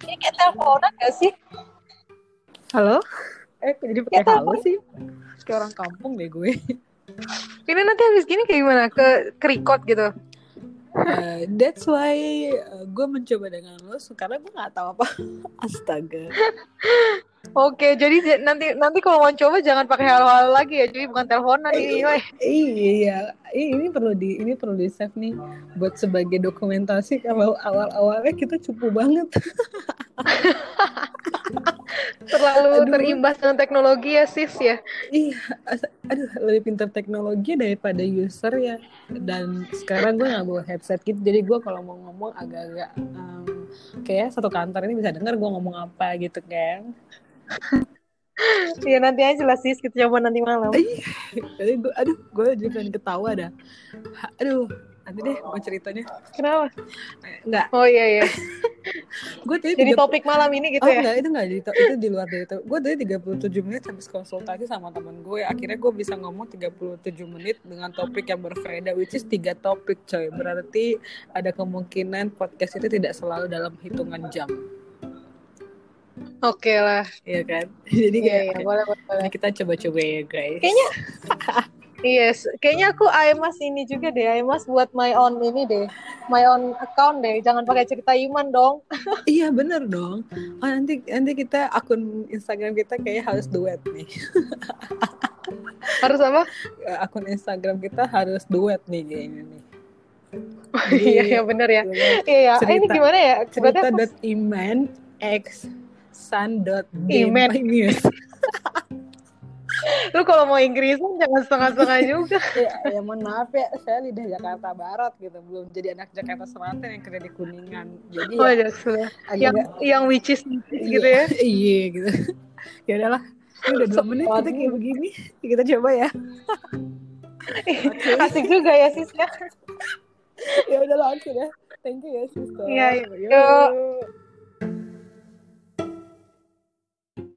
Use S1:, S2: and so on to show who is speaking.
S1: teleponan gak sih?
S2: Halo? Eh, jadi pakai
S1: Ya,
S2: halo sih? Kayak orang kampung deh gue.
S3: Ini nanti habis gini kayak gimana? Ke, ke record gitu.
S2: Eh, that's why eh, gue mencoba dengan lo karena gue nggak tahu apa. Astaga.
S3: Oke, jadi j- nanti nanti kalau mau coba jangan pakai halo-halo lagi ya, jadi bukan teleponan ini. weh.
S2: Iya, i- ini perlu di ini perlu di save nih buat sebagai dokumentasi kalau awal-awalnya kita cupu banget.
S3: Terlalu
S2: Aduh.
S3: terimbas dengan teknologi ya, sis ya.
S2: Iya, as- aduh lebih pintar teknologi daripada user ya. Dan sekarang gue nggak bawa headset gitu, jadi gue kalau mau ngomong agak-agak em, kayak satu kantor ini bisa dengar gue ngomong apa gitu kan.
S3: Iya nanti aja lah sis, kita coba nanti malam.
S2: Jadi gue, aduh gue juga pengen ketawa dah. Ha, Aduh, nanti deh mau ceritanya.
S3: Kenapa?
S2: Eh, Nggak,
S3: Oh iya iya.
S2: gue tadi
S3: Jadi
S2: 30
S3: topik malam ini gitu
S2: oh,
S3: ya.
S2: enggak, itu enggak, itu, itu di luar dari itu. Gue tadi 37 menit habis konsultasi sama temen gue. Akhirnya gue bisa ngomong 37 menit dengan topik yang berbeda, which is tiga topik coy. Berarti ada kemungkinan podcast itu tidak selalu dalam hitungan jam.
S3: Oke lah.
S2: Iya kan? Jadi
S3: Iya
S2: kayak,
S3: iya,
S2: oke,
S3: boleh boleh. boleh.
S2: mari kita coba-coba ya guys.
S3: Kayaknya- Yes, kayaknya aku IMAS ini juga deh, IMAS buat my own ini deh, my own account deh, jangan pakai cerita Iman dong.
S2: Iya bener dong. Oh, nanti nanti kita akun Instagram kita kayak harus duet nih.
S3: Harus apa?
S2: Eh, Akun Instagram
S3: Hmm.
S2: kita harus duet nih kayaknya nih.
S3: Iya iya bener ya. Iya iya. Eh, ini
S2: Cerita-
S3: gimana ya? Berarti aku-
S2: cerita.iman x sun dot
S3: Iman.
S2: news
S3: lu kalau mau Inggris jangan setengah-setengah juga.
S2: ya, ya mohon maaf ya saya lidah Jakarta Barat gitu belum jadi anak Jakarta Selatan yang kerja di Kuningan jadi
S3: Oh,
S2: ya,
S3: ya, sudah. Yang
S2: agak
S3: yang which is gitu ya.
S2: iya gitu ya udahlah ini udah dua menit kita kayak begini kita coba ya
S3: Asik juga ya sis ya.
S2: ya udahlah oke deh thank you ya sister
S3: Iya,
S2: Yuk.
S3: yuk.